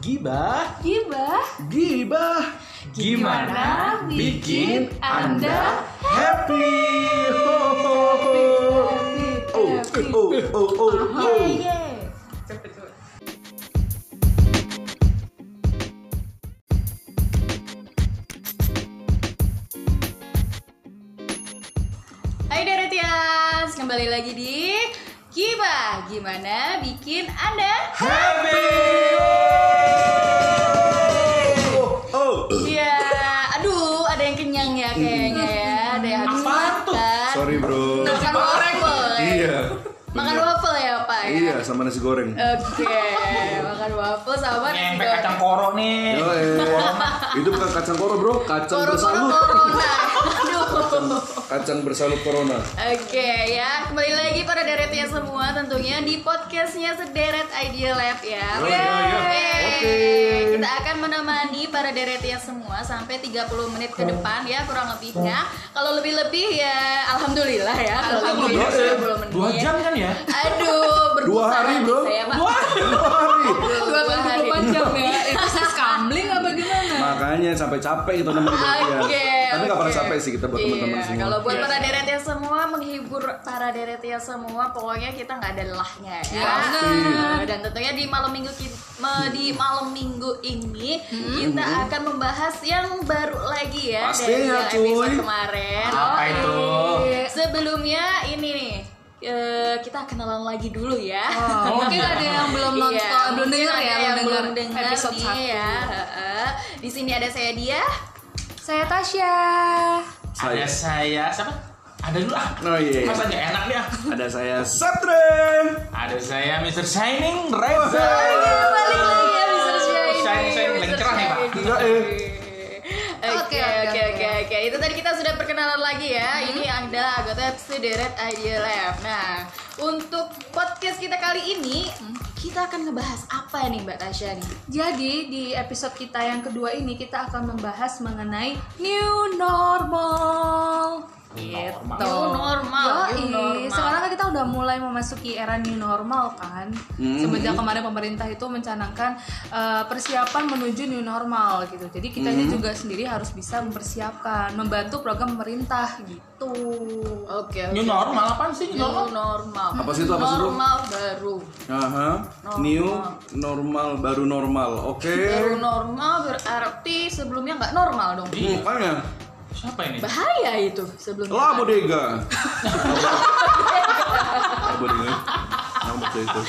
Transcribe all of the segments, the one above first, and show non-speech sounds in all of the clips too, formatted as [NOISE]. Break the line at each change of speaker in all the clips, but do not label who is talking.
Gibah,
Gibah
gibah.
Gimana bikin Anda
happy? Ho, ho, ho. Oh, oh, oh, oh, oh.
Cepet cepet Hai Deretians, kembali lagi di Gibah Gimana bikin Anda
Happy. Oh, oh.
Iya, aduh ada yang kenyang ya kayaknya ya Ada yang habis
Apaan tuh?
makan
Sorry bro.
Makan waffle ya
Iya.
Makan waffle ya Pak ya?
Iya sama nasi goreng.
Oke, makan waffle sama nasi
Ngempek
goreng.
kacang koro nih.
Yo, eh. itu bukan kacang koro bro, kacang
Koro koro
bersalut.
corona. Aduh.
Kacang bersalut corona.
Oke ya, kembali lagi para deretnya semua tentunya di podcastnya Sederet Idea Lab ya.
Yo, yo, yo.
Yeay.
Oke.
Kita akan menemani para deretnya semua sampai 30 menit ke depan ya kurang lebihnya. Kalau lebih-lebih ya alhamdulillah ya. Kalau
Alhamdulillah,
lebih-lebih 30
eh,
menit.
Dua jam kan ya?
Aduh,
Dua
berbusa
hari,
nanti
bro.
Saya, Pak.
Wah.
Hari.
Dua, dua hari.
jam ya itu sis kamling apa gimana
Makanya sampai capek kita nemenin dia.
Oke.
Tapi nggak pernah
oke.
capek sih kita buat teman-teman
Iya,
semua.
Kalau buat
Iya.
para deret yang semua menghibur para deret yang semua, pokoknya kita nggak ada lelahnya ya.
Iya,
Nah, Dan tentunya di malam minggu ki- me- di malam minggu ini
Hmm.
kita
Hmm.
akan membahas yang baru lagi ya dari
Pastinya,
yang episode
cuy.
kemarin.
Apa
Oke.
itu?
Sebelumnya ini nih. eh, kita kenalan lagi dulu ya.
Oh, mungkin ada yang belum nonton,
Iya,
belum
mungkin
dengar ya,
ada yang belum dengar
episode
nih
1
ya. Heeh. Di sini ada saya dia.
Saya Tasya.
Saya.
Ada saya siapa? Ada dulu ah.
Oh iya. iya.
Mas aja enak nih ah.
Ada saya Satren.
Ada saya Mr. Shining Reza.
Hey.
Balik lagi ya Mr. Shiny.
Shiny, shiny, lagi cerah nih, Pak.
Enggak eh.
Oke oke oke oke itu tadi kita sudah perkenalan lagi ya ini adalah anggota Sederet Idea Lab. Nah untuk podcast kita kali ini kita akan ngebahas apa nih Mbak Tasya nih?
Jadi di episode kita yang kedua ini kita akan membahas mengenai new normal.
Normal.
New normal,
Yoi,
new normal.
Sekarang kan kita udah mulai memasuki era new normal kan.
Hmm.
Semenjak kemarin pemerintah itu mencanangkan eh, persiapan menuju new normal gitu. Jadi kita ini juga sendiri harus bisa mempersiapkan, membantu program pemerintah gitu.
Oke.
New
oke.
normal apaan sih new normal?
New normal.
Apa sih itu, apa sih itu?
Normal baru.
Aha. New normal baru normal. Oke.
Baru normal berarti sebelumnya nggak normal dong.
Iya. Makanya
Siapa ini?
Bahaya itu sebelumnya.
La bodega. La bodega. Rambut saya itu.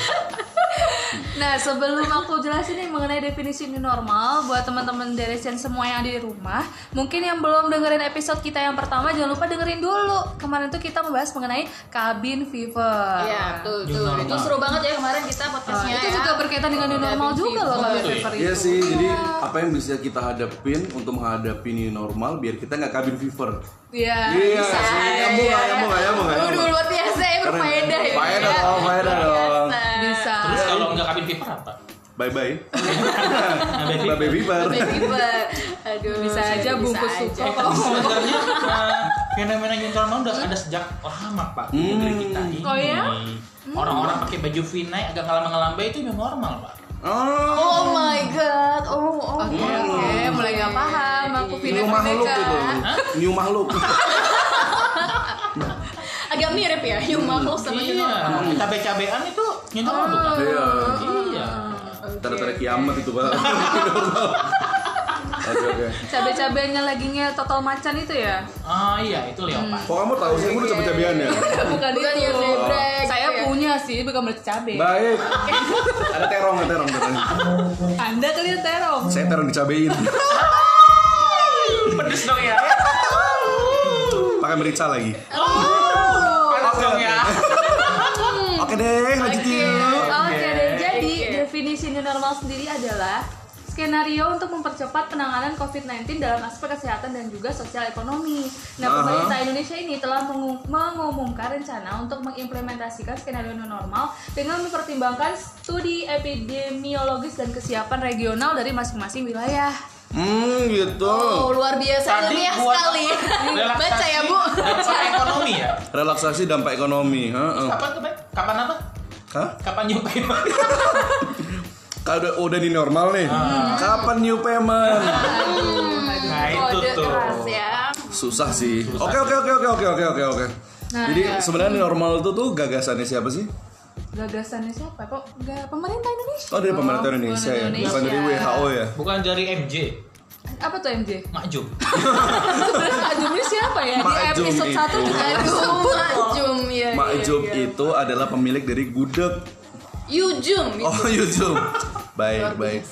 Nah, sebelum aku jelasin nih mengenai definisi new normal buat teman-teman Deresian semua yang ada di rumah, mungkin yang belum dengerin episode kita yang pertama jangan lupa dengerin dulu. Kemarin tuh kita membahas mengenai cabin fever. Nah,
Iya betul
New
betul. Itu
normal.
seru banget ya kemarin kita podcastnya.
Itu
ya.
juga berkaitan dengan new normal
Cabin
juga loh
fever.
cabin
Betul ya?
fever itu.
Iya sih, jadi apa yang bisa kita hadapin untuk menghadapi new normal biar kita nggak kabin fever.
Iya.
Iya,
bisa.
sih. Nyambung nggak, nyambung nggak, nyambung nggak,
Aduh
nyambung.
luar biasa ya
Keren.
berfaedah ya.
Faedah Iya, dong, faedah dong.
Bisa.
Terus kalau nggak kabin fever apa?
Bye bye. [LAUGHS] Bye bye fever.
Tiba. Aduh.
Bisa aja bungkus
aja.
suko.
Eh, sebenarnya eh, fenomena new normal udah ada sejak lama pak di negeri
Hmm.
kita ini.
Oh,
iya?
ya?
Hmm.
Orang-orang pakai baju V-neck agak ngelamba-ngelamba itu new normal pak.
Oh,
Oh my god. Oh oh.
Oke, oke, mulai gak paham aku
new
pindah ke
makhluk itu,
Hah?
new makhluk.
Agak mirip ya. New
Hmm.
makhluk sama new normal. Oh.
Iya. Kita cabean itu new normal bukan?
Iya.
Iya.
Tanda-tanda kiamat itu pak. Oke oke.
Cabe-cabenya laginya total macan itu ya?
Ah iya itu leopard.
Kok kamu tahu sih, kamu udah cabe-cabean ya?
Bukan
Bukan
itu.
zebra gitu
Saya
ya.
punya sih, bukan berarti cabe.
Baik. Ada terong, ada terong, terong.
Anda kali yang terong.
Saya terong dicabein.
Pedes dong ya.
Pakai merica lagi.
Panas dong ya.
Oke deh, lanjutin.
Oke deh, jadi
Oke.
definisi new normal sendiri adalah skenario untuk mempercepat penanganan COVID-19 dalam aspek kesehatan dan juga sosial ekonomi. Nah,
Aha.
pemerintah Indonesia ini telah mengu- mengumumkan rencana untuk mengimplementasikan skenario new normal dengan mempertimbangkan studi epidemiologis dan kesiapan regional dari masing-masing wilayah.
Hmm, gitu.
Oh luar biasa
Tadi
ilmiah
buat
sekali.
relaksasi
Baca ya bu.
dampak ekonomi ya.
Relaksasi dampak ekonomi. Heeh.
Kapan ya, kapan kapan apa?
Hah?
Kapan nyumpain?
Kalau udah di normal nih, kapan new payment?
Nah itu
Kode
tuh.
keras ya.
Susah sih. Oke oke oke oke oke oke oke oke. Jadi sebenarnya di normal itu tuh gagasannya siapa sih?
Gagasannya siapa? Kok nggak pemerintah Indonesia?
Oh dari pemerintah Indonesia ya,
pemerintah
bukan dari
Indonesia.
WHO ya.
Bukan dari MJ,
Apa tuh MJ?
[LAUGHS]
Makjum.
Sebenarnya Ajumnya siapa ya? Di
Makjum
episode
itu.
1 kita sebut
Jum
iya,
ya.
Makjub itu adalah pemilik dari gudeg.
Yujum.
Iya. gitu.
Oh [LAUGHS] YouTube. Baik baik.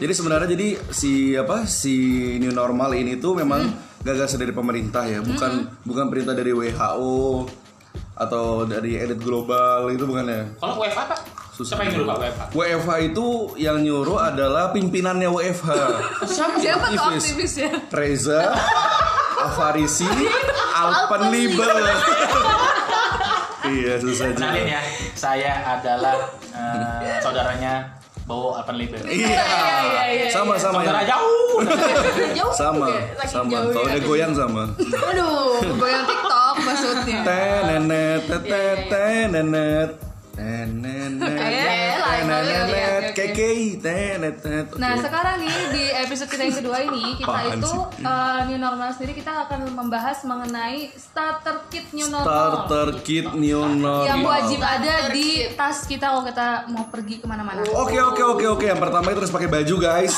Jadi sebenarnya jadi si apa si new normal ini tuh memang gagasan dari pemerintah ya, bukan bukan perintah dari WHO atau dari elit global itu bukan ya.
Kalau WFH pak?
Susah.
Siapa yang dulu pak WFH?
WFH itu yang nyuruh adalah pimpinannya WFH.
Siapa tuh
Aktivis.
aktivisnya?
Reza, Avarisi, Alpenlibel. iya susah
Kenalin
juga.
ya, saya adalah eh, saudaranya Bowo Alpenlibe.
Iya, sama-sama
Saudara
ya.
jauh.
Jauh
Sama, sama.
ya.
ya.
Kalau udah goyang sama.
Iya,
Aduh.
Goyang TikTok maksudnya.
Iya. Tenenet,
Iya,
tetet, tenenet.
Eh,
Tenenet, tenenet, kekei, tenenet. Oke.
Nah sekarang nih di episode kita yang kedua ini kita
Apaan
itu
sih?
eh, new normal sendiri kita akan membahas mengenai starter kit new normal
Starter kit new normal.
yang wajib ada di tas kita kalau kita mau pergi kemana-mana.
Oke oke oke oke yang pertama itu harus pakai baju guys.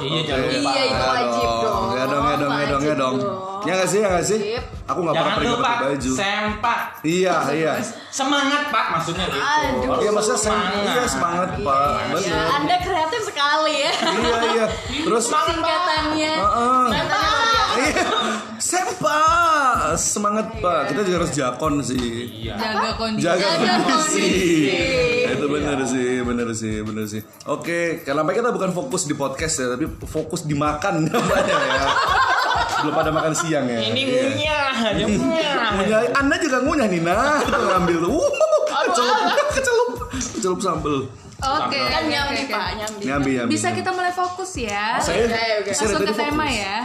Iya jangan
Oke.
lupa.
Iya itu wajib dong.
ya, Nggak dong, nggak dong, nggak dong, nggak dong. Ya nggak sih, ya nggak sih. Aku nggak pernah
Jangan
pergi
lupa
pakai baju.
sempak.
Iya iya.
Semangat pak maksudnya gitu.
Aduh.
Harus
Iya maksudnya sem- iya semangat pak.
iya.
Bener.
Anda kreatif sekali ya.
Iya iya. Terus.
Singkatannya.
Heeh.
Memang.
Iya. Sempak. Semangat pak. Kita juga harus jakon sih.
Iya.
Jaga kondisi.
Ah. Jaga kondisi. Iya.
kondisi.
Itu bener sih, bener sih, bener sih. Oke, karena kita bukan fokus di podcast ya, tapi fokus di makan [LAUGHS] namanya ya. Belum pada makan siang ya.
Ini
Iya.
ngunyah, dia ngunyah.
Ngunyah, Anda juga ngunyah Nina tuh ngambil tuh. Wuh, Kecelup, kecelup, kecelup sambel.
Oke.
Kan
oke,
nyambi
oke.
pak, nyambi.
Nyambi nyambi.
Bisa kita mulai fokus ya.
Saya,
Oke, oke.
saya
Langsung
dari
ke
tadi
tema
fokus.
ya.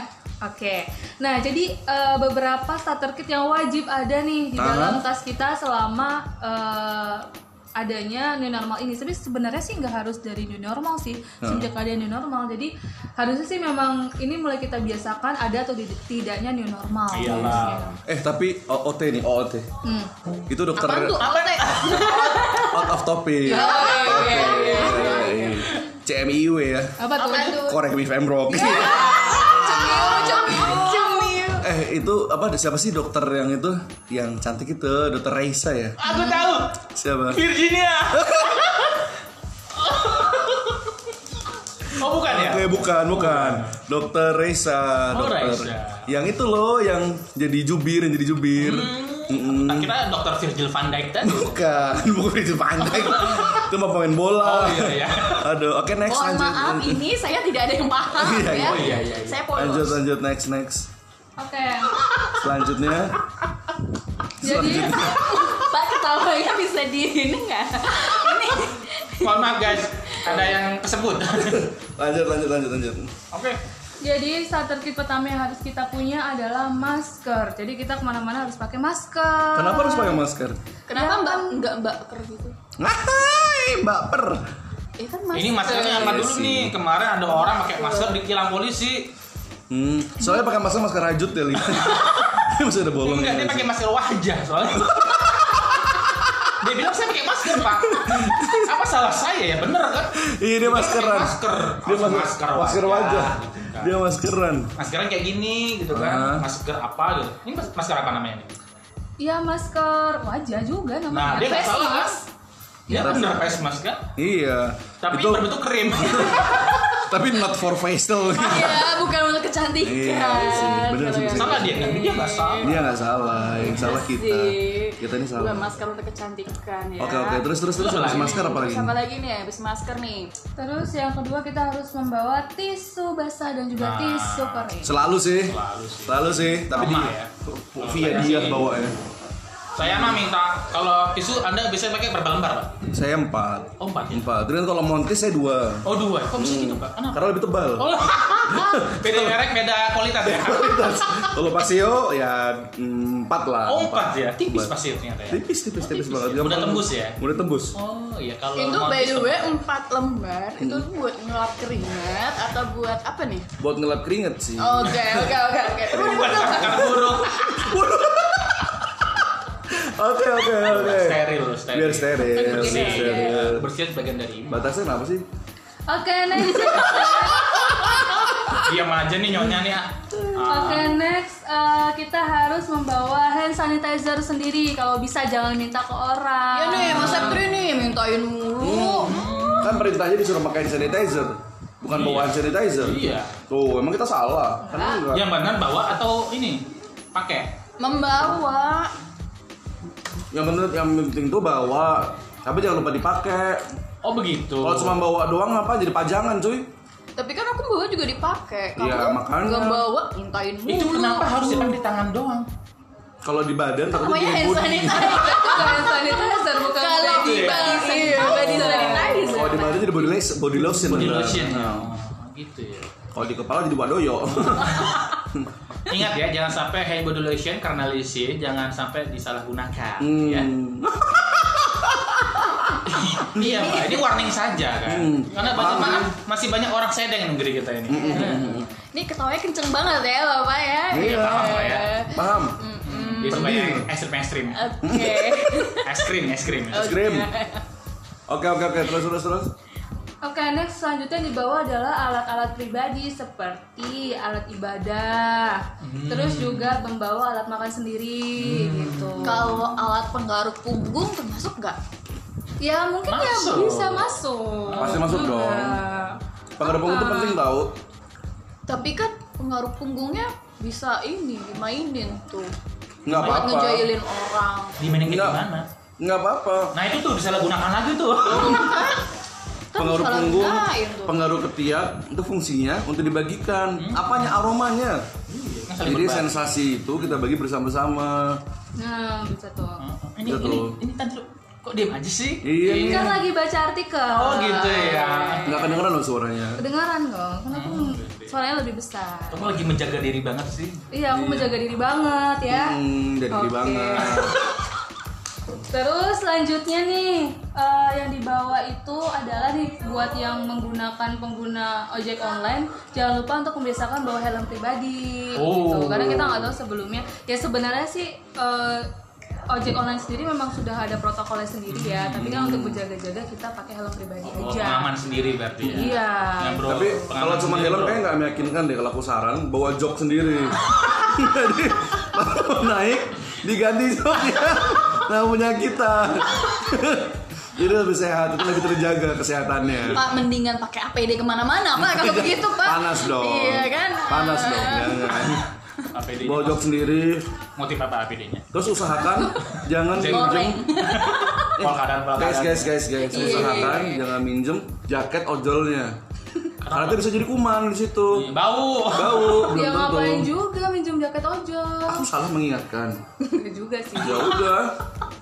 Oke. Nah, jadi eh, beberapa starter kit yang wajib ada nih di
Aha.
dalam tas kita selama eh, adanya new normal ini. Tapi sebenarnya sih nggak harus dari new normal sih. Sejak ada new normal. Jadi harusnya sih memang ini mulai kita biasakan ada atau di- tidaknya new normal. Iya.
Iyalah.
Eh tapi OOT nih OOT.
Hmm.
Itu dokter
Apaan tuh? Otek.
out of
Oh,
topic.
iya,
Oke. iya, CMIW ya.
Apa tuh?
Apaan tuh?
Korek me if I'm wrong.
Iya.
Cemil.
Eh itu apa siapa sih dokter yang itu yang cantik itu dokter Raisa ya?
Aku tahu.
Siapa?
Virginia. oh bukan ya?
Oke, bukan, bukan. Dokter Reza,
Oh,
dokter.
Reza. Hmm.
Yang itu loh, yang jadi jubir, yang jadi jubir. Mm-mm.
Tak kira dokter Virgil van Dijk tadi.
Bukan, [LAUGHS] bukan itu pandai. itu mah pemain bola.
Oh iya iya.
Aduh, oke next
Mohon
lanjut.
maaf, ini saya tidak ada yang paham
Iya,
ya.
Oh iya iya. iya.
Saya
Lanjut,
polos.
lanjut next next.
Oke.
Selanjutnya.
Jadi
Pak ketawanya bisa di ini nggak? Ini
Mohon maaf guys, ada yang kesebut.
Lanjut, lanjut, lanjut, lanjut.
Oke.
[LAUGHS] Jadi starter kit pertama yang harus kita punya adalah masker. Jadi kita kemana-mana harus pakai masker.
Kenapa harus pakai masker?
kenapa Mbak enggak Mbak ker gitu?
Ngatai, Mbak Per.
Eh kan
Ini
masih
maskernya apa
Iya
dulu nih? Kemarin ada orang pakai masker di kilang polisi.
Hmm, soalnya pakai masker masker rajut ya, [LAUGHS] Lin. Masih ada bolong.
Enggak, dia
ya,
pakai masker wajah soalnya. dia bilang saya pakai masker pak. Apa salah saya ya? Bener kan?
Iya dia maskeran.
masker.
Dia
Harus
masker,
masker
masker wajah.
wajah, gitu kan.
Dia maskeran.
Maskeran kayak gini gitu
Ah.
kan? Masker apa gitu? Ini mas- masker apa namanya nih?
Iya masker wajah juga
Nah
namanya.
dia nggak
Face
salah kan?
mask.
Dia bener face mask kan?
Iya.
Tapi
itu
berbentuk
[LAUGHS]
krim.
tapi not for
[LAUGHS]
facial.
Iya,
Ya, bukan untuk kecantikan.
iya sih, benar sih. benar.
salah dia kan? Dia nggak
Iya.
salah.
Dia Iya, nggak salah, yang salah
Iya
kita. Kita ini
Bukan
ya.
salah.
masker untuk kecantikan ya.
Oke oke, terus terus terus habis masker apa lagi?
Terus apa lagi nih habis masker nih?
Terus yang kedua kita harus membawa tisu basah dan juga
Nah.
tisu kering.
Selalu sih.
Selalu sih.
Selalu sih, tapi
Sama
di-
ya.
via
saya
dia
sih-
bawa ya.
Saya mah minta kalau tisu Anda bisa pakai berapa lembar, Pak?
Saya empat.
Oh, empat ya?
Empat. Terus kalau montis saya dua.
Oh, dua. Kok bisa gitu, Pak? Kenapa?
Karena lebih tebal.
Oh, beda merek, beda kualitas ya.
[LAUGHS] Kalau pasio ya mm, empat lah.
Oh, empat ya. Tipis
Empat.
pasti ternyata ya.
Tipis, tipis, tipis banget.
ya. Udah tembus ya?
Udah tembus.
Oh, iya kalau
Itu
mau
by the
tisu-
way 4 lembar itu
Hmm.
buat ngelap keringat atau buat apa nih?
Buat ngelap keringet sih.
Oh.
Oke, oke, oke, oke.
buat makan burung.
Oke, oke, oke.
Steril, steril.
Biar steril.
Kan
biar
bersih.
steril.
Bersih bagian dari iman.
Batasnya kenapa sih?
Oke, next. [LAUGHS]
Diam aja nih nyonya nih. ah. Ah.
Oke, next. Eh, kita harus membawa hand sanitizer sendiri. Kalau bisa jangan minta ke orang.
Ya
Iya,
nih, Mas Septri nih mintain mulu.
Hmm.
Kan perintahnya disuruh pakai hand sanitizer. Bukan
Iya.
bawaan sanitizer.
Iya.
Tuh, emang kita salah. Kan enggak.
Yang benar bawa atau ini? Pakai.
Membawa
Yang penting yang penting tuh bawa. Tapi jangan lupa dipakai.
Oh, begitu.
Kalau cuma bawa doang apa jadi pajangan, cuy?
tapi kan aku bawa juga dipakai. Kamu
Iya,
kan
makanya.
nggak bawa, mintain mulu.
Uh,
itu kenapa harus dipakai Iya, di tangan doang?
Kalau di badan takutnya
Namanya hand
dibully.
sanitizer.
Bukan hand sanitizer, bukan
Kalau
body
di body
Iya.
body
sanitizer.
sanitizer.
Kalau di badan jadi body lotion, body lotion.
Body
beneran.
lotion. Oh, gitu ya.
Kalau di kepala jadi wadoyo.
Ingat ya, jangan sampai hand body lotion karena lisi, jangan sampai disalahgunakan.
[LAUGHS]
Ya.
hmm.
Iya, Pak. Ini warning saja kan.
Hmm.
Karena banyak
Warning.
maaf, masih banyak orang sedang yang negeri kita ini.
hmm,
Ini ketawanya kenceng banget ya Bapak ya.
Iya, paham lah ya.
Paham?
Hmm.
Hmm.
Dia suka
Penting.
yang ekstrim
[LAUGHS]
ekstrim.
Oke.
Es krim, es krim.
Es krim.
Iya.
Oke oke oke terus terus terus.
Oke, next selanjutnya yang dibawa adalah alat-alat pribadi seperti alat ibadah,
Hmm.
terus juga membawa alat makan sendiri gitu.
Kalau alat penggaruk punggung termasuk nggak?
Ya mungkin
Masuk.
ya bisa masuk.
Pasti masuk dong.
Nah,
Pakai punggung itu penting tau.
Tapi kan penggaruk punggungnya bisa ini dimainin tuh.
Nggak
Buat
apa-apa.
ngejailin orang.
Di mana
Enggak.
gimana?
Nggak apa-apa.
Nah itu tuh disalahgunakan lagi tuh.
Kan
Pengaruh
salah
punggung,
gunain tuh. Hmm.
pengaruh ketiak itu fungsinya untuk dibagikan. Apanya aromanya?
Kan saling
Jadi
berbahaya.
sensasi itu kita bagi bersama-sama.
Nah, bisa tuh.
Oh, ini
Gitu.
ini ini tadi lu- kok diem aja sih?
Iya nih.
Kan lagi baca artikel.
Hmm. Oh gitu ya.
Nggak kedengeran loh suaranya.
Kedengaran dong, kan aku
Hmm.
suaranya lebih besar.
Kamu lagi menjaga diri banget sih.
Iya, aku menjaga diri banget ya.
Hmm, jadi
Oke.
banget.
Terus selanjutnya nih eh, yang dibawa itu adalah nih buat yang menggunakan pengguna ojek online jangan lupa untuk membiasakan bawa helm pribadi
Oh.
gitu karena kita nggak tahu sebelumnya ya sebenarnya sih eh, ojek online sendiri memang sudah ada protokolnya sendiri ya tapi kan untuk berjaga-jaga kita pakai helm pribadi
Oh,
aja
pengaman sendiri berarti ya.
Iya.
Ya, bro,
Tapi
pengaman
kalau cuma
sendiri,
helm eh,
bro.
kayaknya nggak meyakinkan deh kalau aku saran bawa jok sendiri. [LAUGHS] Jadi kalau naik diganti joknya. [LAUGHS] Nah punya kita. [LAUGHS] Jadi lebih sehat, itu lebih terjaga kesehatannya.
Pak mendingan pakai APD kemana-mana Pak kalau begitu Pak.
Iya. Panas dong.
Iya kan.
Panas dong. Jangan.
APD-nya.
Bawa jok sendiri.
Motif apa APD-nya?
Terus usahakan jangan
[LAUGHS]
minjem.
Goreng.
Polkadang, polkadang.
Guys, guys, guys, guys. Usahakan jangan minjem jaket ojolnya. Karena itu bisa jadi kuman di
Iya.
situ.
Bau. [LAUGHS]
Bau,
ya
belum
ngapain
tentu.
juga minjem jaket
[LAUGHS]
ojol
Aku salah mengingatkan.
Iya juga sih
ya udah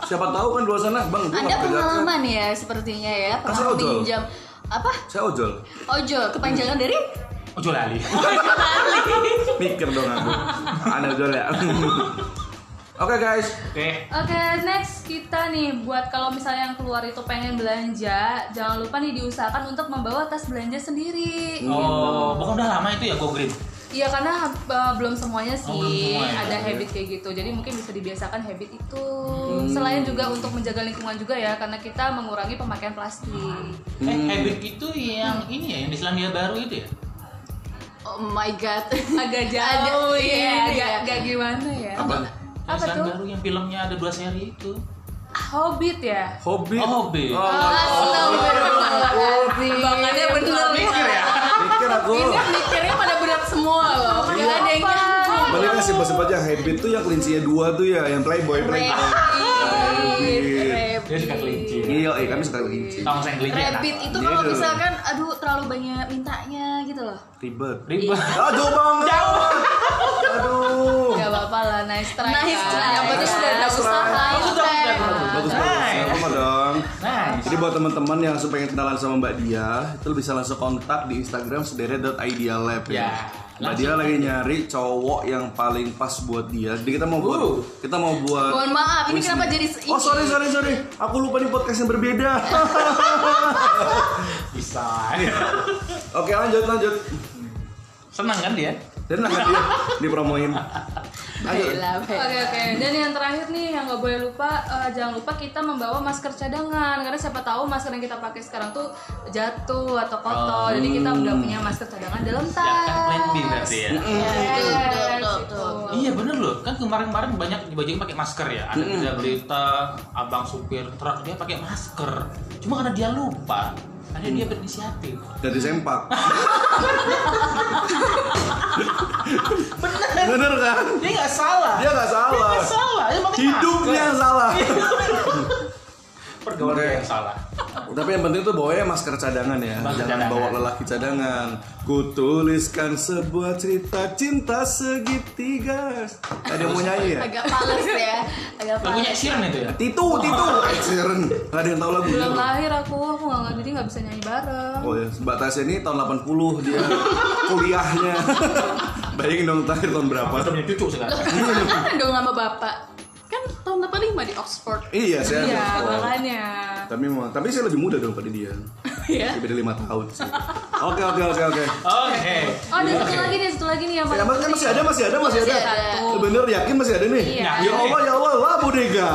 siapa tahu kan di luar sana bang gua
Anda
nggak pakai jaket.
pengalaman ya sepertinya ya
Kasih
pernah
ojol.
pinjam apa
saya ojol
ojol kepanjangan dari
Ojo lali.
mikir dong aku aneh ojol ya [LAUGHS] oke guys
Oke.
Oke, next kita nih buat kalau misalnya yang keluar itu pengen belanja, jangan lupa nih diusahakan untuk membawa tas belanja sendiri.
Oh, bukan udah lama itu ya go green.
Iya karena uh, belum semuanya sih
Oh, belum semua ya.
ada habit kayak gitu. Jadi mungkin bisa dibiasakan habit itu.
Hmm.
Selain juga untuk menjaga lingkungan juga ya karena kita mengurangi pemakaian plastik.
Eh,
Hmm.
habit itu yang ini ya, yang di Selandia Baru itu ya?
Oh my god. [LAUGHS] iya,
Agak jauh ya, agak, agak gimana ya?
apa
Yang
Apa
Selandia
tuh?
Baru yang filmnya ada dua seri itu.
Hobbit ya.
hobi
Oh, hobi.
oh,
Bangannya bener mikir ya.
mikir aku
Mikirnya pada berat semua loh. Gak ada yang nyambung.
Balik kasih bahasa aja habit tuh yang kelincinya dua tuh ya yang playboy playboy
Dia suka kelinci.
iya eh kami suka kelinci
Tong saya kelinci. enak.
Rabbit itu
Iya
kalau
dong.
misalkan aduh terlalu banyak mintanya gitu
gitu loh.
Ribet.
Ribet. [LAUGHS]
Ah, jauh banget. Aduh.
Gak apa-apa lah, nice try.
Nice
kan.
try.
Yang penting sudah ada
Nice
usaha.
try.
ya
Bagus dong,
kan?
Bagus
Nice.
banget. Sama dong.
Nice.
Jadi buat teman-teman yang langsung pengen kenalan sama Mbak Dia, itu bisa langsung kontak di Instagram sederet.idealab
Ya,
ya. Mbak Dia lagi nyari cowok yang paling pas buat dia. Jadi kita mau buat
Uh.
kita mau buat
Mohon maaf, ini
kuis
kenapa
nih.
jadi
Oh, sorry sorry sorry. Aku lupa nih podcast yang berbeda.
[LAUGHS]
Bisa. [LAUGHS]
Oke, lanjut lanjut.
Senang kan dia?
Dan lah dia dipromoin. Lanjut.
Oke oke. Dan yang terakhir nih yang nggak boleh lupa eh, jangan lupa kita membawa masker cadangan karena siapa tahu masker yang kita pakai sekarang tuh jatuh atau kotor. Jadi kita
Hmm.
udah punya masker cadangan dalam tas.
Ya kan plan B berarti ya.
Yes,
Betul, betul,
gitu.
betul.
Iya bener loh, kan kemarin-kemarin banyak dibajakin pakai masker ya. Ada berita berita abang supir truk dia pakai masker. Cuma karena dia lupa, karena dia
Mm.
berinisiatif.
Dari sempak. Bener. Bener kan?
Dia nggak salah.
Dia nggak salah.
nggak salah. Dia pakai
Hidupnya yang salah.
masker. Pergaulan dia yang salah.
[LAUGHS] Tapi yang penting tuh bawanya masker cadangan ya. Jangan
Masker cadangan.
bawa lelaki cadangan. Ku tuliskan sebuah cerita cinta segitiga. Ada yang mau nyanyi ya?
Agak males ya, agak
Lagunya
males.
Ed Sheeran itu ya.
Titu, Titu. Ed Sheeran. Gak ada yang tahu lagunya.
Belum lahir aku, aku nggak nggak- jadi nggak bisa nyanyi bareng.
Oh ya, Mbak Tasya ini tahun 80 dia kuliahnya. [LAUGHS] Bayangin dong terakhir tahun berapa?
Masker punya cucu
[LAUGHS]
sekarang.
Kan dong sama bapak. Kan tahun berapa lima di Oxford.
Iya, saya
Iya,
harus tahu.
makanya.
Tapi mau, tapi saya lebih muda daripada dia.
Iya.
Lebih dari lima tahun sih. Oke oke oke oke.
Oke.
Oh, ada satu lagi nih, satu lagi nih yang
Ya,
paling
mas- kan masih ada masih ada masih ada.
satu.
Bener yakin masih ada nih.
Iya.
Ya Allah ya Allah wah bodega.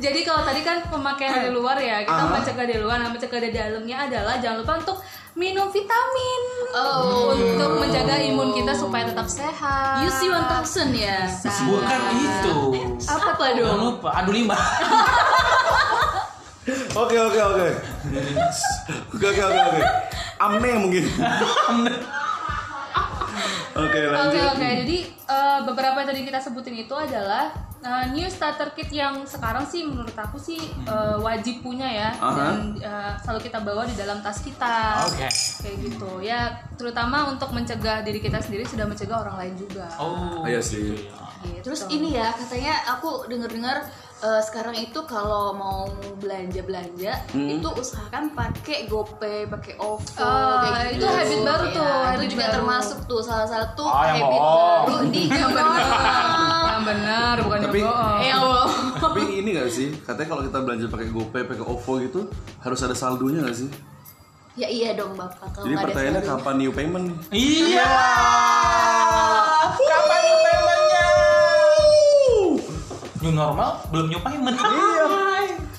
Jadi kalau tadi kan pemakaian dari luar ya, kita
Ah.
mencegah dari luar, nah mencegah dari dalamnya adalah jangan lupa untuk minum vitamin untuk menjaga imun kita supaya tetap sehat.
UC 1000 ya.
Bukan itu.
apa tuh
Jangan
dong?
lupa. Aduh lima.
[LAUGHS] Oke oke oke. Oke oke oke oke. Amne mungkin. Oke
Oke
lanjut.
oke, jadi eh, beberapa yang tadi kita sebutin itu adalah eh, new starter kit yang sekarang sih menurut aku sih eh, wajib punya ya
Aha.
dan eh, selalu kita bawa di dalam tas kita.
Oke.
Kayak gitu ya, terutama untuk mencegah diri kita sendiri sudah mencegah orang lain juga.
Oh.
Iya sih.
Gitu.
Terus ini ya katanya aku denger-dengar eh, sekarang itu kalau mau belanja-belanja
Hmm.
itu usahakan pakai GoPay, pakai OVO
Oh,
kayak gitu.
itu habit baru tuh,
Iya,
habit
itu juga
baru.
termasuk tuh salah satu
Ah, yang
habit
bohong.
baru
[LAUGHS]
di Jakarta.
yang benar bukan yang
Tapi-
bohong.
Ya Allah.
Tapi ini gak sih, katanya kalau kita belanja pakai GoPay, pakai OVO gitu, harus ada saldonya gak sih?
Ya iya dong Bapak kalau
Jadi
nggak ada
pertanyaannya
saldo.
kapan new payment nih?
Iya. Kapan new paymentnya? New normal belum new payment.
Iya.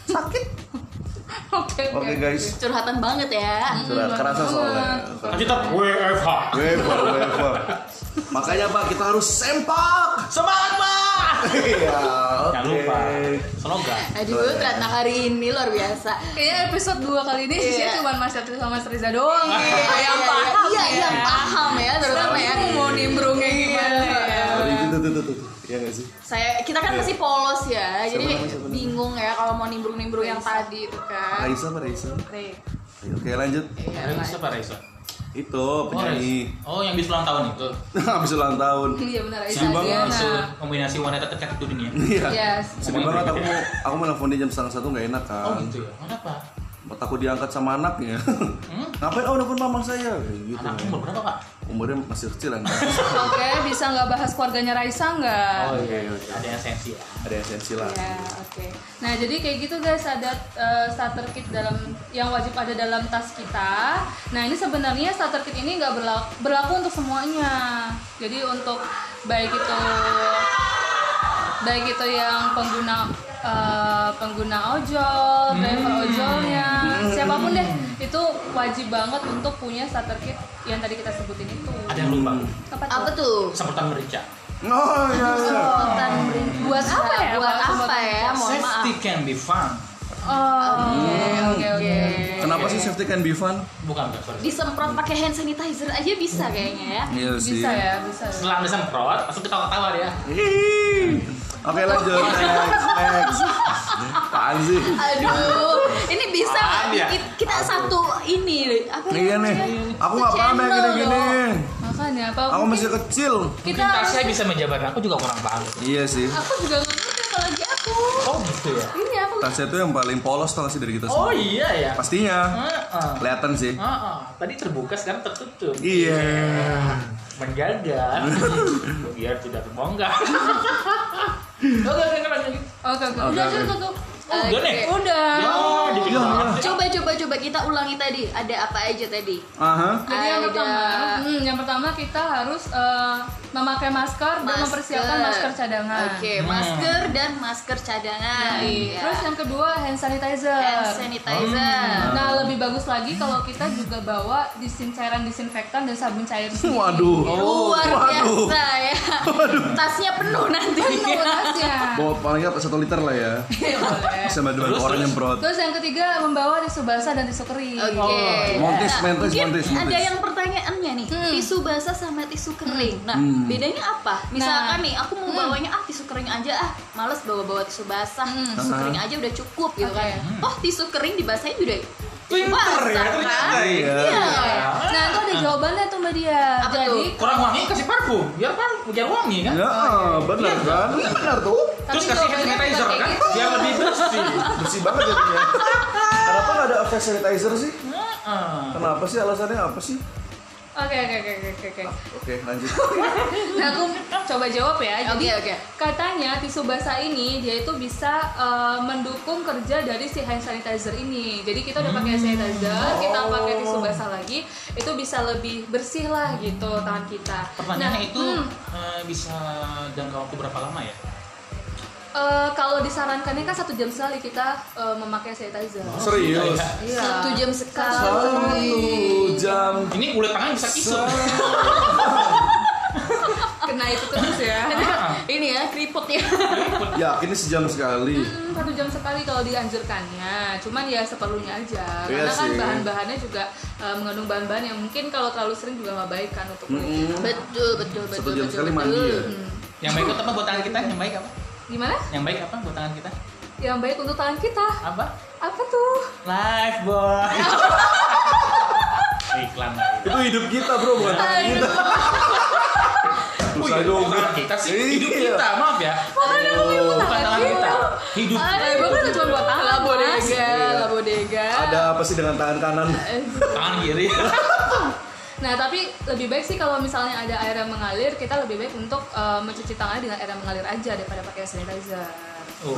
Sakit.
Eh, Oke.
Oke guys,
curhatan banget ya.
Hmm.
sudah kerasa soalnya.
Kita WFH.
Wepa, wepa. Makanya Pak, kita harus sempak.
Semangat pak.
Iya.
Jangan lupa. Slogan.
Aduh, ternyata hari ini luar biasa.
Kayaknya episode 2 kali ini
Iya.
isinya cuma Mas Yatri sama Mas Riza doang. gitu.
Iya,
Yang
iya,
paham
Iya,
ya.
yang paham ya terutama ya.
Aku mau nimbrungnya gimana ya.
Tadi itu tuh tuh tuh. tuh. Iya gak sih?
Saya kita kan masih polos ya. Jadi
namanya, Iya. siapa Iya. namanya?
bingung ya kalau mau nimbrung-nimbrung yang tadi itu
Ah.
kan.
Raisa apa Raisa?
Re.
Oke lanjut.
Raisa apa Raisa?
Itu
Oh, Raisa.
penyanyi.
oh yang di ulang tahun itu.
[LAUGHS] Habis ulang tahun.
Iya benar Riza.
Sedih banget.
Diana.
Itu kombinasi wanita terkait di dunia.
Iya.
Yes.
Sedih banget aku mau aku mau nelfon dia jam setengah satu nggak enak
Oh
kan.
gitu ya. Kenapa?
Mau takut diangkat sama anaknya.
Hmm?
[LAUGHS] Ngapain? Oh nelfon mama saya. Kayak Gitu.
Anak umur berapa pak?
Umurnya masih kecil kan.
Nah, Oke, bisa nggak bahas keluarganya Raisa nggak?
Oh,
iya. Ada yang sensi ya.
Ada esensi lah.
Ya, oke. Nah, jadi kayak gitu guys, ada eh, starter kit dalam yang wajib ada dalam tas kita. Nah, ini sebenarnya starter kit ini nggak berlaku, berlaku untuk semuanya. Jadi untuk baik itu baik itu yang pengguna eh, pengguna
Hmm.
ojol, driver ojolnya, siapapun deh, itu wajib banget untuk punya starter kit yang tadi kita sebutin itu.
Ada yang lupa.
Hmm. Iya.
Apa tuh?
Apa tuh?
Semprotan merica.
Oh iya iya.
Semprotan brin-
Buat apa ya?
Buat apa
Semprotan-
Oh,
ya? Mohon maaf.
Safety can be fun.
Oh,
Iya.
oke oke oke.
Kenapa sih safety can be fun?
Bukan bukan sorry.
Disemprot pakai hand sanitizer aja bisa kayaknya ya.
Iya
Bisa ya, bisa. ya.
Setelah anda semprot, langsung ketawa-tawa dia.
Ih. Oke lanjut next next. Apaan sih?
Aduh, ini bisa bisa
Apaan ya?
ki- kita satu ini apa
Iya nih, aku nggak paham yang
Channel
gini-gini.
Makanya apa?
Aku
mungkin
masih kecil.
kita
Mungkin
harus-
Tasya bisa menjabarkan, aku juga kurang paham.
Iya sih.
aku juga nggak ngerti apalagi aku.
Oh gitu ya?
Ini aku
Tasya itu yang paling polos tau gak sih dari kita semua.
Oh iya ya?
Pastinya.
Heeh.
Kelihatan sih.
Heeh. Tadi terbuka sekarang tertutup.
Iya.
Menjaga biar tidak terbongkar. Oke oke oke, lanjut.
Oke, oke.
Oke,
Udah
oke.
cukup tuh.
Oh, Udah nih.
Udah.
Ya, dikit
Iya,
doang.
coba coba coba kita ulangi tadi ada apa aja tadi
Aha.
Jadi yang
Ada-
pertama, hmm, yang pertama kita harus eh, memakai masker, dan mempersiapkan masker cadangan.
oke masker dan masker cadangan
Iya.
Ya.
Terus yang kedua hand sanitizer.
hand
Hmm.
sanitizer
Nah lebih bagus lagi kalau kita juga bawa disin cairan disinfektan dan sabun cair. sendiri. Iya.
Waduh.
luar
Oh. waduh.
biasa
[LAUGHS]
ya tasnya penuh nanti
Penuh tasnya.
Bawa paling nggak satu liter lah ya. Sama dua
Terus,
orang
terus.
nyemprot.
Iya, Terus yang ketiga membawa tisu basah dan tisu kering.
Oke.
Oh.
Nah,
Montis, mentis,
Mungkin
montis,
ada
montis. Hmm.
yang pertanyaannya nih,
Hmm.
tisu basah sama tisu kering. Nah, bedanya apa?
Nah.
Misalkan nih, aku mau bawanya ah tisu kering aja ah, males bawa-bawa tisu basah. Tisu
Hmm. Aha. Hmm.
kering aja udah cukup gitu
Oke.
kan. Oh, tisu kering dibasahin juga. kan?"
Pinter ya ternyata.
Iya.
Nah itu ada jawabannya tuh mbak dia.
Apa
Jadi
Kurang wangi kasih parfum, biar parfum biar wangi kan.
Ya, ah, benar kan? Benar tuh.
Terus
Tapi
kasih hand
jawabannya
sanitizer
bukan
kan,
kayak gitu.
biar lebih bersih.
Bersih banget jadinya. Kenapa nggak ada hand sanitizer sih?
Heeh.
Kenapa sih alasannya apa sih?
oke oke oke oke oke.
Oke, lanjut.
Nah aku coba jawab ya. Jadi
Oke, oke.
katanya tisu basah ini dia itu bisa eh, mendukung kerja dari si hand sanitizer ini. Jadi kita udah pakai hand sanitizer, kita pakai tisu basah lagi, itu bisa lebih bersih lah gitu tangan kita.
Pertanyaannya itu
hmm,
eh, bisa jangka waktu berapa lama ya?
eh, kalau disarankannya kan satu jam sekali kita eh, memakai sanitizer.
Serius.
Satu jam sekali.
Satu jam
Ini kulit tangan bisa kisut.
Kena itu terus ya. [LAUGHS]
Heeh.
Ini ya keriput ya.
Yakin ini sejam sekali.
Hmm, satu jam sekali kalau dianjurkannya cuman ya seperlunya aja
Iya
karena kan
sih.
bahan-bahannya juga eh, mengandung bahan-bahan yang mungkin kalau terlalu sering juga nggak baik kan untuk kulit
Mm-mm.
betul, betul, betul.
Satu jam
betul,
sekali
betul. Hmm.
mandi ya.
Yang baik apa buat tangan kita? Yang baik apa?
gimana
Yang baik apa buat tangan kita?
yang baik untuk tangan kita
Apa?
apa tuh
Life boy. [LAUGHS] Iklan lagi.
Itu hidup kita bro, bukan tangan kita. Susah
Wih,
dong.
bukan kita sih, hidup
Iya.
kita, maaf ya.
makanya aku ibu
Bukan
tangan
tangan
kita
kita, hidup.
ada ibu kan cuma dua tangan lah mas
labodega.
Iya. Ada apa sih dengan tangan kanan?
Tangan [LAUGHS] kiri.
nah tapi lebih baik sih kalau misalnya ada air yang mengalir kita lebih baik untuk eh, mencuci tangan dengan air yang mengalir aja daripada pakai sanitizer
Oh,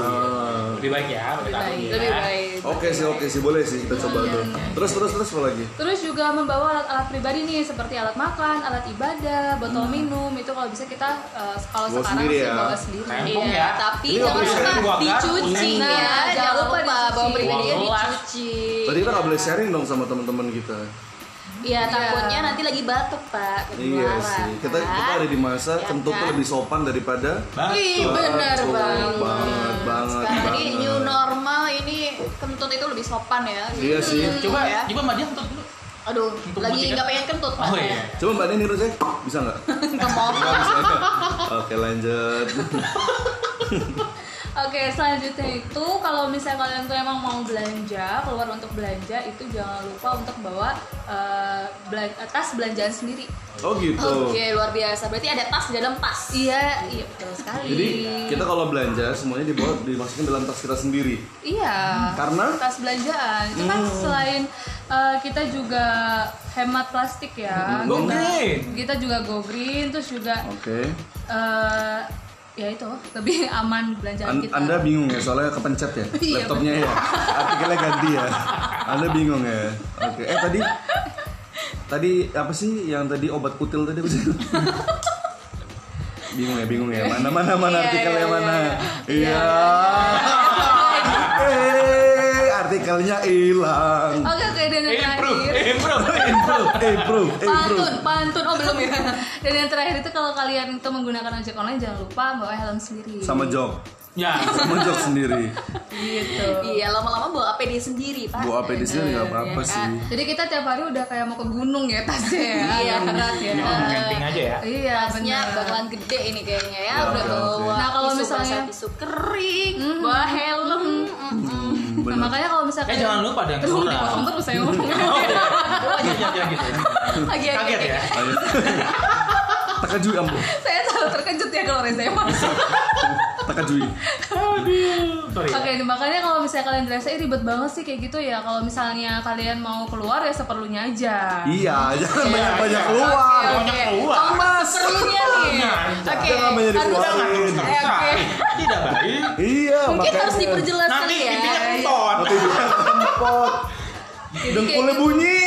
lebih baik ya, lebih
Iya.
baik.
lebih baik
ya.
lebih baik
Oke sih, oke sih, boleh sih
Iya,
kita coba tuh. Terus terus terus apa lagi?
Terus juga membawa alat-alat pribadi nih seperti alat makan, alat ibadah, botol minum itu kalau bisa kita eh, kalau
Hmm. Bawa
sekarang
sendiri
sih
ya.
bawa sendiri.
Tempong
Iya,
ya.
tapi
Ini
jangan
operasi kan
lupa
dua kan,
dicuci
kuning.
ya.
Nah,
Jangan lupa bawa
dicuci.
pribadinya
Wah, kelas.
dicuci.
Tadi kita nggak boleh sharing dong sama teman-teman kita.
Iya, takutnya nanti lagi batuk, Pak.
Iya sih. Kita kita ada di masa
Iya
tentu
kan?
lebih sopan daripada
Betul.
benar
Betul,
banget.
banget banget. Iya.
Jadi
banget.
new normal ini kentut itu lebih sopan ya.
Iya sih.
Coba,
ya.
coba Mbak Dian tutup dulu.
Aduh,
Kentut
lagi
putih, kan?
nggak pengen kentut, Pak.
Oh
[LAUGHS]
iya.
Coba Mbak Nini saya bisa nggak?
Nggak mau.
Nggak bisa. Oke lanjut.
Oke, selanjutnya itu kalau misalnya kalian tuh emang mau belanja, keluar untuk belanja itu jangan lupa untuk bawa eh, belan- eh, tas belanjaan sendiri.
Oh gitu.
Oke, luar biasa. Berarti ada tas di dalam tas.
Iya, iya betul sekali.
Jadi kita kalau belanja semuanya dibawa dimasukin dalam tas kita sendiri.
Iya.
Karena
tas belanjaan itu kan
Hmm.
selain eh, kita juga hemat plastik ya.
Go
Kita-
green.
Kita juga go green, terus juga
Oke.
eh ya itu lebih [LAUGHS] aman belanjaan
An-
kita.
Anda bingung ya soalnya kepencet ya
Iya,
laptopnya ya. Artikelnya ganti ya. Anda bingung ya. Oke. Eh tadi tadi apa sih yang tadi obat kutil tadi apa sih? bingung ya, bingung ya. Mana mana mana artikelnya mana? Iya. [LAUGHS] Eh, artikelnya hilang.
Oke oke dan yang
Improve,
terakhir [LAUGHS]
improve. Ya,
Improve, improve, improve.
pantun pantun oh belum ya. [LAUGHS] Dan yang terakhir itu kalau kalian itu menggunakan ojek online jangan lupa bawa helm sendiri.
Sama jog,
Iya.
Ya,
sama jog sendiri.
gitu.
Iya, lama-lama bawa APD sendiri, Pak.
Bawa APD sendiri nggak apa-apa
Iya
sih.
Jadi kita tiap hari udah kayak mau ke gunung ya tasnya. Iya berat ya.
cuma camping aja ya.
Iya
Tasnya
benar.
bakalan gede ini kayaknya ya.
Ya,
Udah
oke,
bawa
oke.
Nah, kalau
tisu
misalnya-
basah, tisu kering, bawa helm. mm-mm.
Nah,
benar.
Mhm. makanya kalau misalkan
Eh jangan lupa ada yang
Terus
kurang.
dipotong terus
[LAUGHS]
saya ngomong. [LAUGHS]
Oh, iya. Iya, iya, gitu.
Oke, oke,
Kaget
oke.
ya.
Ayo. Takajui ambo,
Saya selalu terkejut ya kalau Reza
[LAUGHS]
emang.
takajui.
Sorry.
Iya.
Oke, nih, makanya kalau misalnya kalian dirasa "Ih, ribet banget sih kayak gitu ya. Kalau misalnya kalian mau keluar ya seperlunya aja.
Iya, jangan banyak-banyak keluar.
Iya,
Iya.
Banyak keluar.
Mas,
Seperlunya nih.
Jangan.
Oke.
jangan banyak
harus-
Jangan
dikeluarin.
terus terusan. Tidak baik.
Iya,
Mungkin
makanya.
harus diperjelas
Nanti
kali
Iya.
ya.
pipinya kentot.
Nanti dia kan kempot.
Iya,
Dengkulnya bunyi.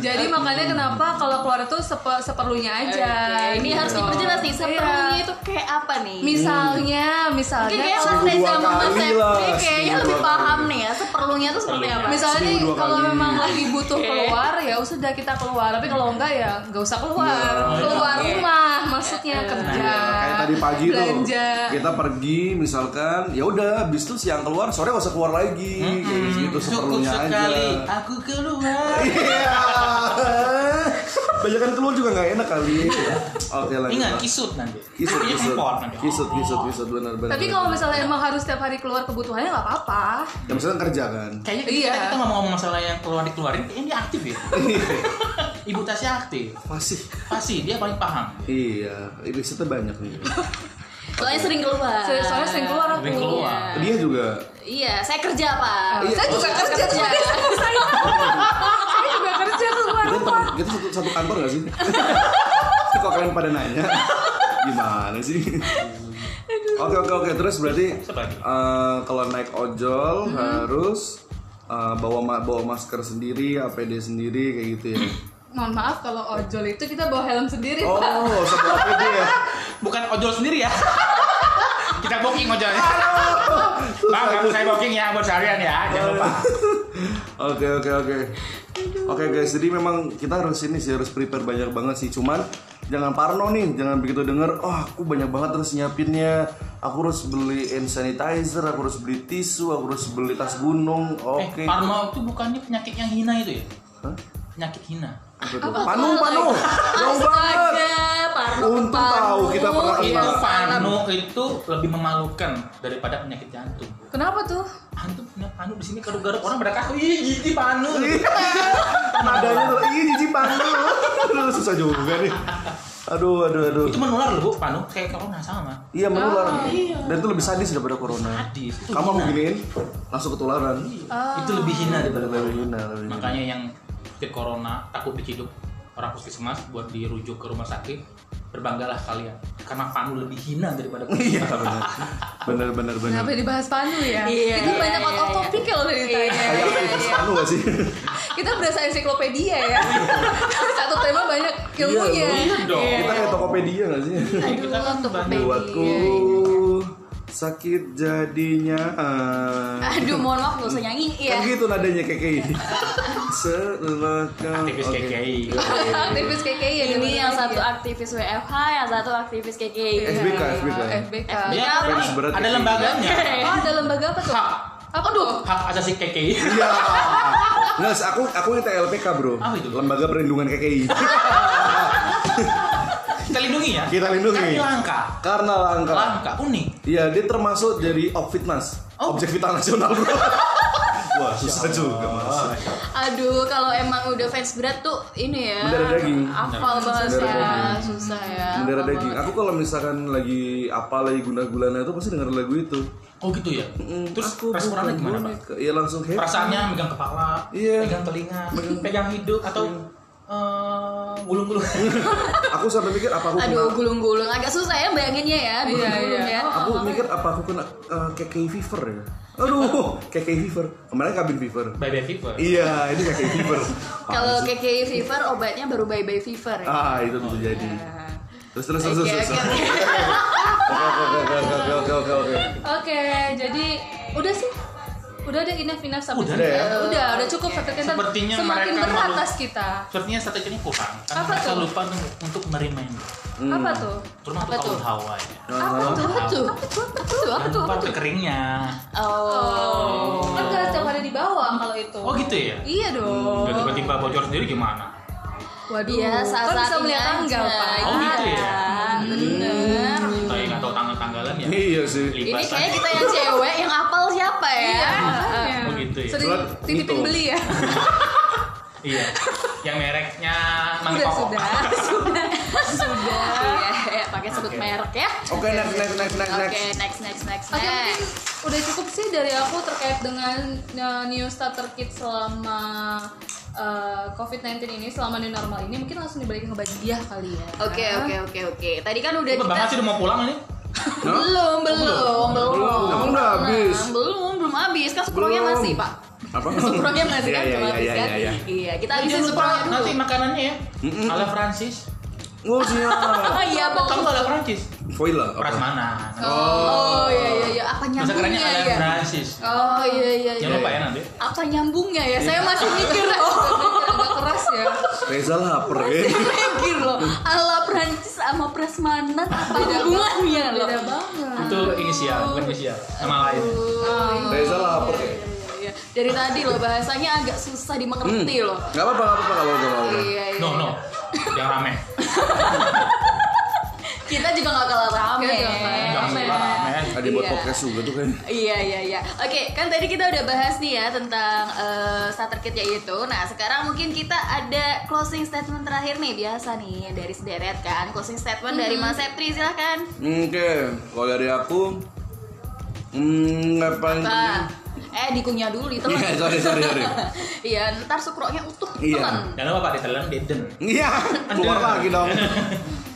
Jadi makanya kenapa kalau keluar itu sepe- seperlunya aja. Gitu.
Ini harus diperjelas nih seperlunya
Iya.
itu kayak apa nih?
Misalnya, misalnya
Mungkin kayak
kalau-
Mas Reza
Seminggu dua
sama Mas
kali
Septi
lah,
Iya, kayaknya
seminggu
lebih
dua kali.
paham nih ya seperlunya itu seperti apa.
Misalnya nih,
Seminggu dua
kalau
kali.
memang lagi butuh keluar ya sudah kita keluar, tapi kalau enggak ya nggak usah keluar.
Iya.
Keluar rumah maksudnya
Iya.
kerja.
Kayak tadi pagi
Iya. belanja.
tuh Gitu. kita pergi misalkan ya udah habis itu siang keluar sore gak usah keluar lagi kayak gitu
Cukup
seperlunya aja.
sekali aku keluar.
Iya. Banyakan keluar juga nggak enak kali. Oke lanjut.
Ingat
lanjut.
kisut nanti.
kisut,
Nanti
kisut,
report nanti.
kisut, kisut, kisut, benar benar.
Tapi kalau misalnya emang harus setiap hari keluar kebutuhannya nggak apa-apa.
ya, misalnya kerja kan.
Kayaknya
Iya.
kita, kita ngomong-ngomong masalah yang keluar dikeluarin, kayaknya dia aktif
[LAUGHS]
ya. Ibu Tasya aktif.
Masih.
Pasti dia paling paham.
Iya, episode banyak nih.
Iya.
Soalnya sering keluar.
Soalnya, soalnya sering keluar aku.
Sering keluar.
Dia juga.
Iya, saya kerja pak.
Iya. Saya juga kerja. sebagai [LAUGHS] saya. Saya juga kerja keluar
Kita,
rumah.
tem- kita satu, satu kantor gak sih? Kok kalian pada nanya? Gimana sih? Oke oke oke terus berarti
Sebagai.
eh, kalau naik
Mm-hmm.
ojol harus eh, bawa ma- bawa masker sendiri, APD sendiri kayak gitu ya.
Mohon maaf kalau ojol itu kita bawa helm sendiri.
Oh, nggak usah bawa APD [LAUGHS] ya.
Bukan ojol sendiri ya. [LAUGHS] kita booking ojolnya. Bang, kamu saya booking ya buat seharian ya. Jangan lupa.
Oke oke oke. Oke guys, jadi memang kita harus ini sih harus prepare banyak banget sih. Cuman jangan parno nih, jangan begitu denger, oh aku banyak banget terus nyiapinnya. Aku harus beli hand sanitizer, aku harus beli tisu, aku harus beli tas gunung. Oke.
Eh, Parma itu bukannya penyakit yang hina itu ya?
Hah?
Penyakit hina.
Apa tuh? Panu panu. Jauh banget. Untung tahu kita pernah
Itu
kenal.
Iya. panu itu lebih memalukan daripada penyakit jantung.
Kenapa tuh? Nah,
Antum punya panu di sini garuk-garuk orang pada kaku. Ih, jijik
[LAUGHS]
panu.
Nadanya tuh ih jijik panu. [LAUGHS] Aduh, susah juga nih. Aduh aduh aduh.
Itu menular loh, Bu, panu kayak corona sama.
Iya menular. Dan itu lebih sadis daripada corona.
Oh, Sadis. Itu
Kamu aku
hina.
giniin, langsung ketularan.
Itu lebih hina daripada
Lebih hina, lebih hina.
Makanya yang sakit corona takut diciduk orang puskesmas buat dirujuk ke rumah sakit berbanggalah kalian karena panu lebih hina daripada
Iya
corona.
benar. Benar benar benar.
Kenapa dibahas panu ya?
Iya,
Kita
iya,
banyak out of topic kalau udah ditanya.
Kayak aktivis anu gak sih?
Kita berasa ensiklopedia ya. [LAUGHS] Satu tema banyak ilmunya.
Iya dong.
Kita kayak Tokopedia gak sih?
Kita kan banyak
Buatku sakit jadinya. Ah.
Aduh, mohon maaf gak usah nyanyi ya.
Kan gitu nadanya KKI. Setelah kau
aktivis
Oke.
KKI.
Aktivis KKI ya
Ini
dengerin
yang
lagi
satu
ya.
aktivis WFH, yang satu aktivis KKI.
SBK SBK.
FBK.
Dia
Iya,
kan
Fans berat
ada
KKI.
lembaganya.
Oh, ada lembaga apa tuh?
Hak
Apa tuh?
hak asasi
[LAUGHS]
KKI.
Iya. Nggak, aku aku kita LPK bro.
Apa Oh, itu?
Lembaga Perlindungan
[LAUGHS]
KKI.
Kita lindungi ya.
Kita lindungi. Ah.
Karena ini langka.
Karena langka.
Langka unik.
Iya, dia termasuk dari Opfitnas.
Oh.
Objek vital nasional, [LAUGHS] Bro. Wah, susah juga, Mas.
Ah. Aduh, kalau emang udah fans berat tuh ini ya.
Mendarah daging.
Hafal banget
Mendarah
ya,
daging.
susah ya.
Bendera
hafal
daging.
banget.
Aku kalau misalkan lagi apa lagi guna-gulana itu pasti denger lagu itu. Hmm,
Oh gitu ya. Terus
Aku
responannya
bukan
gimana, Pak?
boneka. Iya, langsung happy.
Perasaannya megang kepala,
Iya.
pegang telinga, pegang hidung atau eh,
[LAUGHS]
gulung-gulung.
Aku sampai mikir apa aku kena
Aduh, gulung-gulung agak susah ya bayanginnya ya, gulung-gulung
iya.
ya.
Aku mikir apa aku kena uh, KKI fever ya.
[LAUGHS]
Aduh, KKI fever. Kemarin kabin fever.
Bye bye fever.
Iya, ini KKI fever.
[LAUGHS] Kalau KKI fever obatnya baru bye bye fever ya.
Ah, itu bisa jadi. Terus terus terus
Iya. Oke, oke, oke.
terus. terus. Oke, oke, oke, oke, oke, oke, oke, oke.
Oke, jadi udah sih. Udah deh enough enough sampai
Udah
sini.
ya?
Udah, udah cukup sampai kita
Sepertinya
semakin
mereka
berat
malu-
atas kita.
Sepertinya strateginya kurang karena
Apa
mereka
tuh?
lupa untuk- untuk menerima ini.
Apa tuh?
Terutama
Apa
untuk
tuh?
tahun hawa ya.
Nah,
Apa tuh? Apa tuh? Apa tuh? Apa tuh? Apa
Jangan
tuh?
lupa keringnya.
Oh.
Kan gak setiap hari di bawah kalau itu.
Oh gitu ya.
Iya dong.
Udah tiba-tiba bocor sendiri gimana?
Waduh,
Iya,
kan bisa
saat-saat ini
melihat tanggal,
aja. Iya,
Pak.
Oh gitu ya.
Bener.
Kita nggak tahu tanggal-tanggalan ya.
Iya sih.
Ini
Libasan.
kayaknya kita yang cewek yang apal siapa ya?
Makanya.
Oh,
titipin
Gitu.
beli ya
iya yang mereknya
sudah
mangkok
sudah sudah sudah
Iya, iya, pakai sebut merek ya.
Oke, next, next, next, next,
Oke,
next.
next next next. next.
Oke mungkin udah cukup sih dari aku terkait dengan uh, new starter kit selama uh, COVID-19 ini selama new normal ini mungkin langsung dibalikin ke Badiah kali ya.
Oke oke oke oke. Tadi kan udah
Cepet banget sih udah mau pulang ini
Hah?
belum belum belum
Belum, udah
Nah,
habis.
belum belum habis kan supronya
Belum.
masih pak
Apa?
supronya masih
Iya,
kan
iya,
belum
iya,
habis
iya,
kan
iya, iya.
iya kita
Ini
habisin
lupa
supronya dulu
nanti makanannya ya ala Francis
Oh, siap.
oh iya bang
kamu tuh ala Francis
Foil lah. apa?
prasmanan
Oh iya iya iya apa
masa kerennya
nyambungnya
ala
ya?
Francis
Oh iya iya iya.
jangan lupa ya nanti
Apa nyambungnya ya? Saya masih mikir [LAUGHS] oh. agak keras ya.
Reza lapar. eh.
Mikir loh. Ala Prancis sama prasmanan apa hubungannya Iya, loh? Beda banget.
itu inisial bukan inisial nama lain
Reza lapar. eh.
Iya, dari tadi loh bahasanya agak susah dimengerti loh
Gak apa-apa, gak apa-apa, gak apa-apa, gak apa-apa.
iya iya
no no yang rame
kita juga gak kalah ya. rame
Kita juga
Eh,
kalah
yang
Rame.
rame
Ada yang buat
Iya.
podcast juga tuh kan.
Iya iya iya. Oke, kan tadi kita udah bahas nih ya tentang eh, starter kitnya itu. Nah, sekarang mungkin kita ada closing statement terakhir nih biasa nih ya, dari sederet kan. Closing statement dari Mas Septri silakan.
Oke, kalau dari aku, hmm, nggak paling
Bang. Eh, dikunyah dulu itu.
Iya, sorry, sorry, sorry.
Iya, ntar sukroknya utuh
Iya.
telan.
jangan lupa pak ditelan deden
Iya, keluar lagi dong.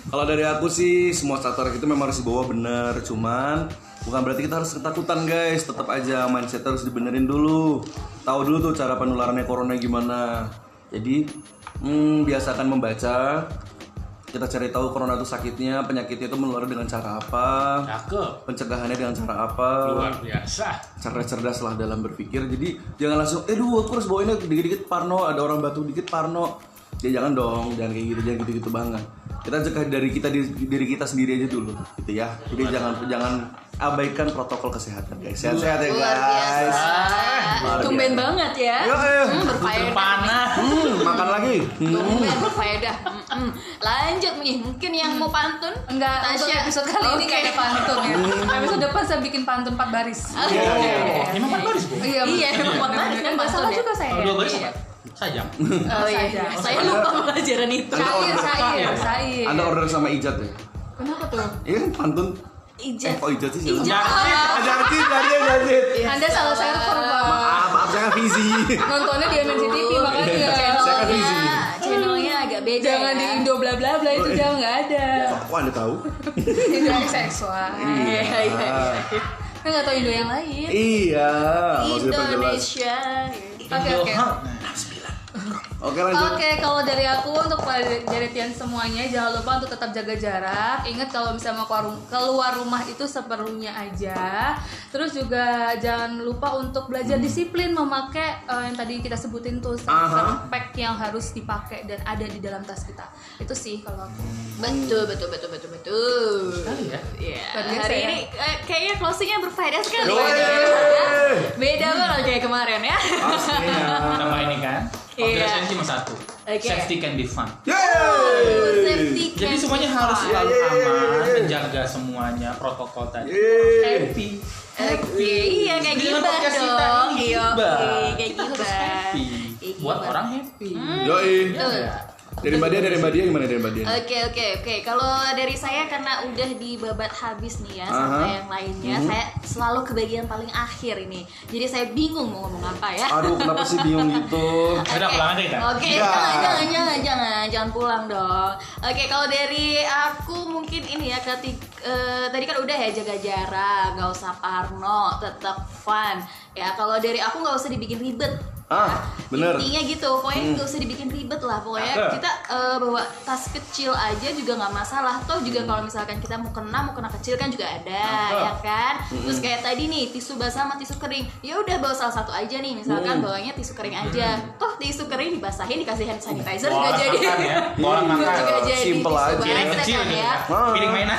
Kalau dari aku sih semua starter itu memang harus dibawa bener, cuman bukan berarti kita harus ketakutan guys. Tetap aja mindset harus dibenerin dulu. Tahu dulu tuh cara penularannya corona gimana. Jadi hmm, biasakan membaca. Kita cari tahu corona itu sakitnya, penyakitnya itu menular dengan cara apa,
cakep
pencegahannya dengan cara apa.
luar biasa
cerdas-cerdas lah dalam berpikir jadi jangan langsung eh duh aku harus bawa ini dikit-dikit parno ada orang batuk dikit parno ya jangan dong jangan kayak gitu jangan gitu-gitu banget kita jaga dari kita diri, diri kita sendiri aja dulu gitu ya jadi jangan jangan abaikan protokol kesehatan guys sehat-sehat ya
Luar
guys
biasa.
Luar
Tumben
biasa.
banget ya.
Iya.
Yo, eh.
Hmm, berfaedah.
panah
hmm, makan lagi
Tumben berfaedah. Hmm, hmm. Lanjut nih, mungkin yang mau pantun?
Enggak, untuk
Tasya.
episode kali ini
Oke.
kayak ada pantun ya. episode depan saya bikin pantun 4 baris.
Oke.
emang kan baris bu
Iya,
Iya, emang empat baris kan
Yang
pantun
masalah
ya?
juga saya.
kalau dua baris apa sajam
Oh iya, saya lupa pelajaran itu.
Syair, syair, syair.
anda order sama ijat ya
Kenapa tuh?
iya kan pantun eh
Ijat.
kok ijat sih siapa?
Ijat.
Jarjit, Jarjit, Jarjit.
Iya.
Anda salah server, Pak.
maaf maaf saya kan visi
Nontonnya di MNC TV
Oh, Iya.
saya
makanya.
kan
ya. Channelnya,
visi
channelnya agak beda. ya.
Jangan di Indo bla bla bla itu jangan nggak ada.
kok anda tahu
Tidak seksual.
Iya, iya.
Ah.
Kita nggak tahu Indo yang lain.
Iya, harus diperjelas.
Indonesia.
Oke
Iya.
oke.
Oke lanjut.
Oke, kalau dari aku untuk Jaretian semuanya jangan lupa untuk tetap jaga jarak. Ingat kalau misalnya mau keluar, keluar rumah itu seperlunya aja. Terus juga jangan lupa untuk belajar disiplin memakai eh, yang tadi kita sebutin tuh
Aha.
pack yang harus dipakai dan ada di dalam tas kita. Itu sih kalau aku.
Betul, betul, betul, betul, betul.
ya
Iya.
Luar biasa
Hari
ya.
ini eh, kayaknya closingnya berfaedah sekali. iya.
Yeay.
Beda banget kayak kemarin ya.
Pastinya.
tambah ini kan
Iya.
Objection cuma satu
Oke.
safety can be fun
Iya.
Yeay.
Oh, Safety
jadi
can
semuanya
be
harus
fun.
selalu
Iya, iya, iya,
aman
iya, iya.
menjaga semuanya protokol tadi
Yeay.
happy
Oke, iya kayak
Dengan
gibah
podcast kita
dong.
ini,
Iya,
gibah.
oke, kayak
Kita harus
gibah.
happy.
Kayak
buat
gibah.
orang happy
Yoi.
Iya
Betul.
nggak?
Dari Mbak Dia, dari Mbak Dia gimana dari Mbak Dia?
Hmm. Oke oke oke. Kalau dari saya karena udah dibabat habis nih ya sama
Aha.
yang lainnya,
Mhm.
saya selalu ke bagian paling akhir ini. Jadi saya bingung mau ngomong apa ya.
Ah.
Aduh, kenapa sih bingung gitu?
Udah pulang aja kita.
Oke,
Ya.
jangan, jangan, jangan, jangan, jangan pulang dong. Oke, kalau dari aku mungkin ini ya ketika tadi kan udah ya jaga jarak, nggak usah parno, tetap fun. Ya kalau dari aku nggak usah dibikin ribet. Nah,
Ah, bener.
Intinya gitu, pokoknya nggak usah dibikin ribet lah. Pokoknya
Cakep.
kita eh, bawa tas kecil aja juga nggak masalah. Toh juga kalau misalkan kita mau kena, mau kena kecil kan juga ada,
Cakep.
ya kan? Terus kayak tadi nih tisu basah sama tisu kering, ya udah bawa salah satu aja nih. Misalkan
Mm.
bawanya tisu kering aja. Toh tisu kering dibasahin dikasih hand sanitizer
Bola
juga jadi.
makan
[LAUGHS]
ya. Bola
Juga
makan.
jadi
Simple
tisu
aja.
Piring
basah
kecil
kan
gitu
ya.
kan. Piring mainan.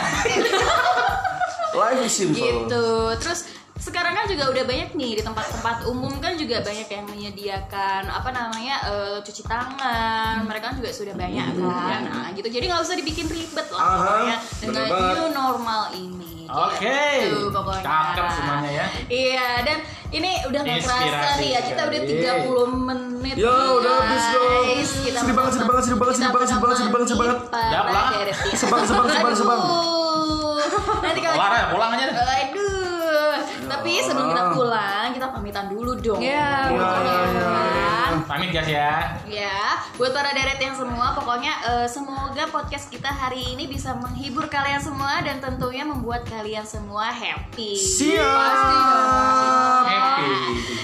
Life is simple.
Gitu. Terus sekarang kan juga udah banyak nih di tempat-tempat umum kan juga banyak yang menyediakan apa namanya eh, cuci tangan. Mereka kan juga sudah banyak kan. Nah, gitu. Jadi nggak usah dibikin ribet lah
Iya. Aha,
pokoknya
bener
dengan
banget.
new normal ini.
Oke.
Gitu pokoknya.
Cakep semuanya ya.
Iya, dan ini udah nggak kerasa
Inspirasi
nih ya, kita udah
sekali.
30 menit.
Ya,
nih,
udah habis dong.
guys. Kita
Sedih banget, sedih banget, sedih banget, sedih banget, sedih banget, sedih banget, sedih banget.
Dah, pulang.
Sebang, sebang, sebang, sebang.
Oh. Nanti kalau
Pulang ya, pulang aja. deh. Ya
Aduh, tapi sebelum kita pulang, kita pamitan dulu dong.
Iya,
Ya, ya, ya,
Iya,
ya.
Pamit guys ya.
Ya, buat para deret yang semua, pokoknya eh, semoga podcast kita hari ini bisa menghibur kalian semua dan tentunya membuat kalian semua happy.
Siap.
Happy.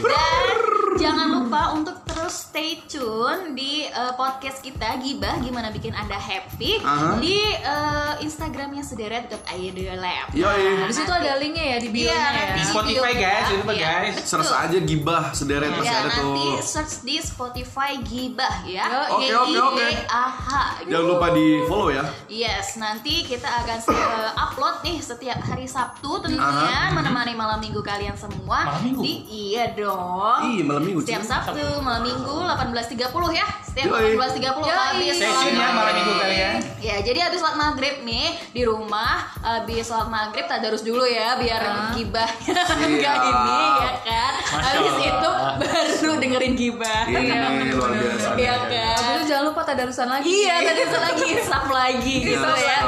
Dan jangan lupa untuk terus stay tune di eh, podcast kita Gibah Gimana Bikin Anda Happy
Aha.
di eh, Instagramnya sederet.idolab.
Yoi.
Di situ ada linknya ya di bio
Iya,
nya
Di
ya.
nanti.
Spotify
Video
guys,
kita.
jangan lupa
Iya.
guys.
Serasa aja gibah sederet pasti
Ya,
ada
nanti
tuh.
search di Spotify Gibah ya.
Oke, oke, oke.
G-I-B-A-H, gitu.
Jangan lupa di follow ya.
Yes, nanti kita akan se- eh, upload nih setiap hari Sabtu tentunya menemani malam minggu kalian semua.
Malam minggu?
Di iya dong.
Ih, malam minggu.
Setiap
cuy.
Sabtu malam minggu 18.30 ya. Setiap
Yoi.
18.30
Yoi.
habis
Stay
sholat
tune ya malam
maghrib.
minggu kalian.
Ya, jadi habis sholat maghrib nih di rumah habis sholat maghrib tadarus dulu ya biar gibah [LAUGHS] enggak ini ya kan.
Masya
Habis
Allah.
itu baru dengerin gibah.
Ini luar biasa. nih.
Iya kan.
Habis itu jangan lupa tadarusan lagi.
Iya, tadarusan lagi, sap lagi
Iya.
gitu ya.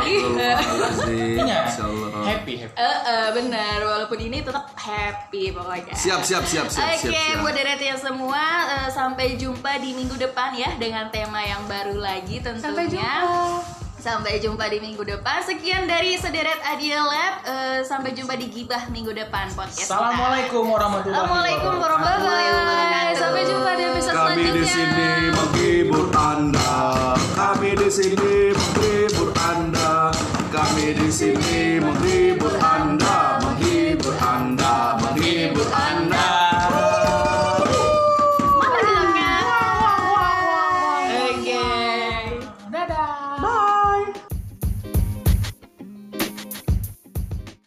Astagfirullahaladzim.
Iya.
Insyaallah.
Happy, happy.
Eh, eh, benar, walaupun ini tetap happy pokoknya.
Siap, siap, siap, siap,
Oke,
siap. siap.
buat Deretia semua eh, sampai jumpa di minggu depan ya dengan tema yang baru lagi tentunya.
Sampai jumpa.
Sampai jumpa di minggu depan. Sekian dari Sederet Adia Lab. Eh, sampai jumpa di Gibah minggu depan podcast. kita.
Assalamualaikum warahmatullahi
Assalamualaikum warahmatullahi wabarakatuh.
Sampai jumpa di episode
Kami di
selanjutnya.
sini menghibur Anda. Kami di sini